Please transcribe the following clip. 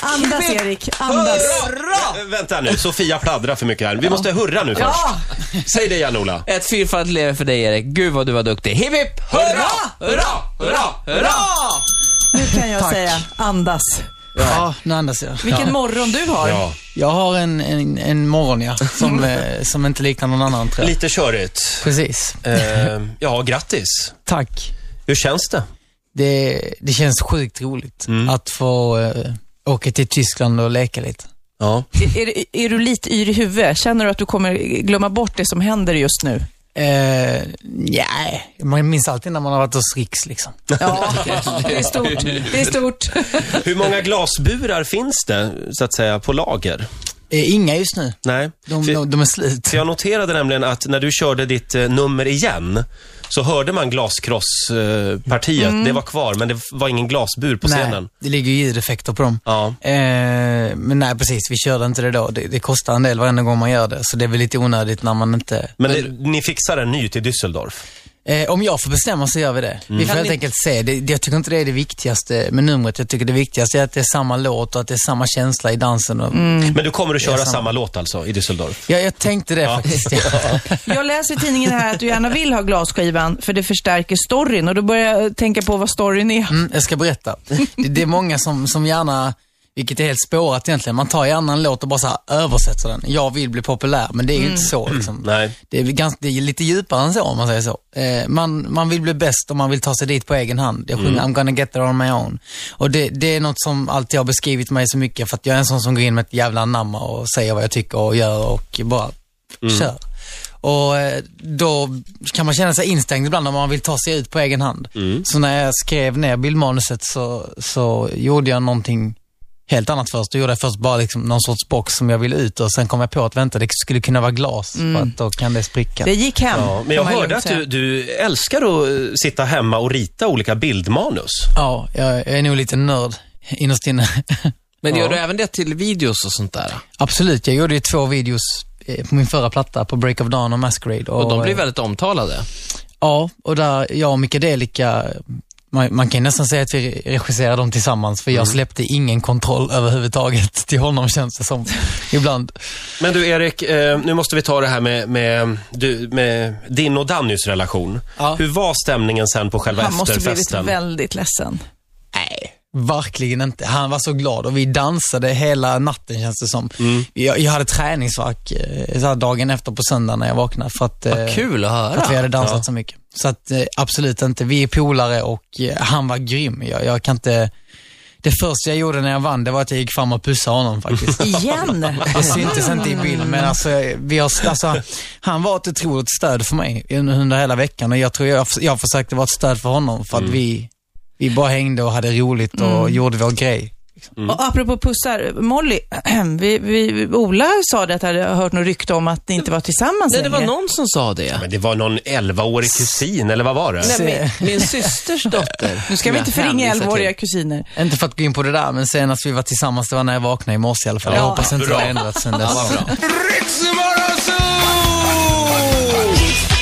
Andas Erik, andas. Hurra! Äh, Vänta nu, Sofia pladdrar för mycket här. Vi måste hurra nu Ja! först. Säg det Janola. Ett fyrfaldigt leve för dig Erik. Gud vad du var duktig. Hipp hipp! Hurra! Hurra! Hurra! Hurra! Nu kan jag Tack. säga andas. Ja, nu andas jag. Vilken ja. morgon du har. Ja, Jag har en, en, en morgon, ja, som, eh, som inte liknar någon annan, tror jag. lite körigt. Precis. Eh, ja, grattis. Tack. Hur känns det? Det, det känns sjukt roligt Mm. att få eh, åka till Tyskland och leka lite. Ja. Är, är, är du lite yr i huvudet? Känner du att du kommer glömma bort det som händer just nu? Eh, nej, man minns alltid när man har varit hos Riks liksom. Ja, det är stort. Det är stort. Hur många glasburar finns det, så att säga, på lager? Eh, inga just nu. Nej. De, För- de, de är slut. För jag noterade nämligen att när du körde ditt eh, nummer igen så hörde man glaskrosspartiet. Det var kvar, men det f- var ingen glasbur på Mm. Nej, scenen. det ligger ju ljudeffekter på dem. Ja. Eh, men nej, precis. Vi körde inte det då. Det, det kostar en del varenda gång man gör det, så det är väl lite onödigt när man inte... Men det, ni fixar en ny till Düsseldorf. Eh, om jag får bestämma så gör vi det. Vi får helt enkelt se. Det, det- jag tycker inte det är det viktigaste med numret. Jag tycker det viktigaste är att det är samma låt och att det är samma känsla i dansen. Och... Men du kommer att köra Det är samma. samma. låt alltså i Düsseldorf? Ja, jag tänkte det faktiskt. Ja. Jag läser i tidningen här att du gärna vill ha glasskivan för det förstärker storyn och då börjar jag tänka på vad storyn är. Mm, jag ska berätta. Det, det är många som, som gärna, vilket är helt spårat egentligen, man tar gärna en låt och bara så här översätter den. Jag vill bli populär, men det är ju inte så. Liksom. Nej. Det är, väl ganska, det är lite djupare än så om man säger så. Eh, man, man vill bli bäst och man vill ta sig dit på egen hand. Jag sjunger I'm gonna get there on my own. Och det, det är något som alltid har beskrivit mig så mycket för att jag är en sån som går in med ett jävla anamma och säger vad jag tycker och gör och bara Mm. kör. Och eh, då kan man känna sig instängd ibland om man vill ta sig ut på egen hand. Mm. Så när jag skrev ner bildmanuset så, så gjorde jag någonting helt annat först. Då gjorde jag först bara liksom någon sorts box som jag ville ut och sen kom jag på att vänta, det skulle kunna vara glas för att då kan det spricka. Det gick hem. Ja, men jag kan man lugnt hörde att säga. du, du älskar att eh, sitta hemma och rita olika bildmanus. Ja, jag jag är nog lite nörd innerst inne. Men gör Ja. du även det till videos och sånt där? Absolut, jag gjorde ju två videos eh, på min förra platta på Break of Dawn och Masquerade. Och de blir eh, väldigt omtalade. Ja, och där jag och Micke Delica, man, man kan ju nästan säga att vi regisserar dem tillsammans för jag släppte ingen kontroll överhuvudtaget till honom känns det som ibland. Men du Erik, eh, nu måste vi ta det här med, med, du, med din och Dannys relation. Ja. Hur var stämningen sen på själva Han måste blivit efterfesten? väldigt ledsen. Nej, verkligen inte. Han var så glad och vi dansade hela natten känns det som. Jag, jag hade träningsvärk eh, så här dagen efter på söndagen när jag vaknade för att, eh, Vad kul att för att vi höra. hade dansat Ja. så mycket. Så att eh, absolut inte. Vi är polare och eh, han var grym. Jag, jag kan inte... Det första jag gjorde när jag vann, det var att jag gick fram och pussade honom faktiskt. Igen? Det syntes inte i bild, men alltså, vi har, alltså, han var ett otroligt stöd för mig under under hela veckan och jag tror jag, jag försökte vara ett stöd för honom för att Mm. vi, vi bara hängde och hade roligt och gjorde vår grej. Och apropå pussar, Molly, vi, vi, Ola sa det att han hade hört något rykte om att ni inte var tillsammans Nej, det var längre. någon som sa det. Men det var någon 11-årig kusin, eller vad var det? Nej, Se. min, min systers dotter. Nu ska som jag vi inte förringa hänvisar till. elvaåriga kusiner. Inte för att gå in på det där, men senast vi var tillsammans, det var när jag vaknade i morse i alla fall. jag Ja. hoppas inte det Bra. har ändrats sen dess. Ja, vad bra. Riksmorgonzoo! Riks